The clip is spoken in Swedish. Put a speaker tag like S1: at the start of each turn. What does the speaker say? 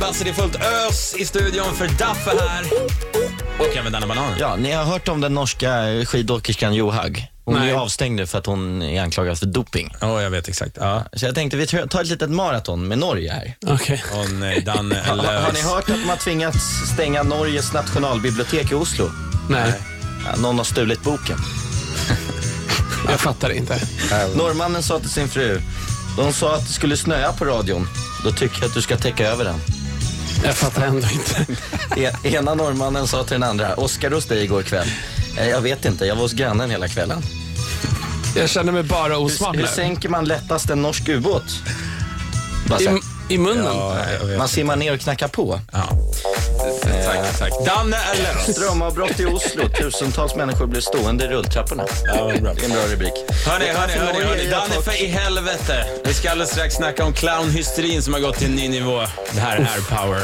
S1: Lasse, det är fullt ös i studion för Daffe här. Och även Danne Banan.
S2: Ja, ni har hört om den norska skidåkerskan Johaug. Hon
S1: Nej.
S2: är avstängd för att hon är anklagad för doping.
S1: Ja, jag vet exakt. Ja.
S2: Så jag tänkte vi tar ett litet maraton med Norge här.
S3: Okej.
S1: Och nej, Danne
S2: Ha,
S1: eller...
S2: har ni hört att de har tvingats stänga Norges nationalbibliotek i Oslo?
S3: Nej,
S2: Ja, någon har stulit boken.
S3: jag fattar inte.
S2: Äh. Norrmannen sa till sin fru, de sa att det skulle snöa på radion. Då tycker jag att du ska täcka över den.
S3: Jag fattar ändå inte.
S2: E- Ena norrmannen sa till den andra, Oskar hos dig igår kväll. "Eh, Jag vet inte, jag var hos grannen hela kvällen.
S3: Jag känner mig bara
S2: Hur,
S3: osmart
S2: hur
S3: nu.
S2: sänker man lättast en norsk ubåt? Bara så här.
S3: I, I munnen?
S1: Ja, jag vet.
S2: Man simmar ner och knackar på.
S1: Ja. Exakt, exakt. Danne eller...
S2: Strömavbrott i Oslo. Tusentals människor blir stående i rulltrapporna.
S1: Ja, vad bra.
S2: Det är en bra rubrik.
S1: Hörni, hörni, hörni, hörni.
S2: Jag
S1: Danne
S2: tar-
S1: för i helvete. Vi ska alldeles strax snacka om clownhysterin som har gått till en ny nivå. Det här är Air Power.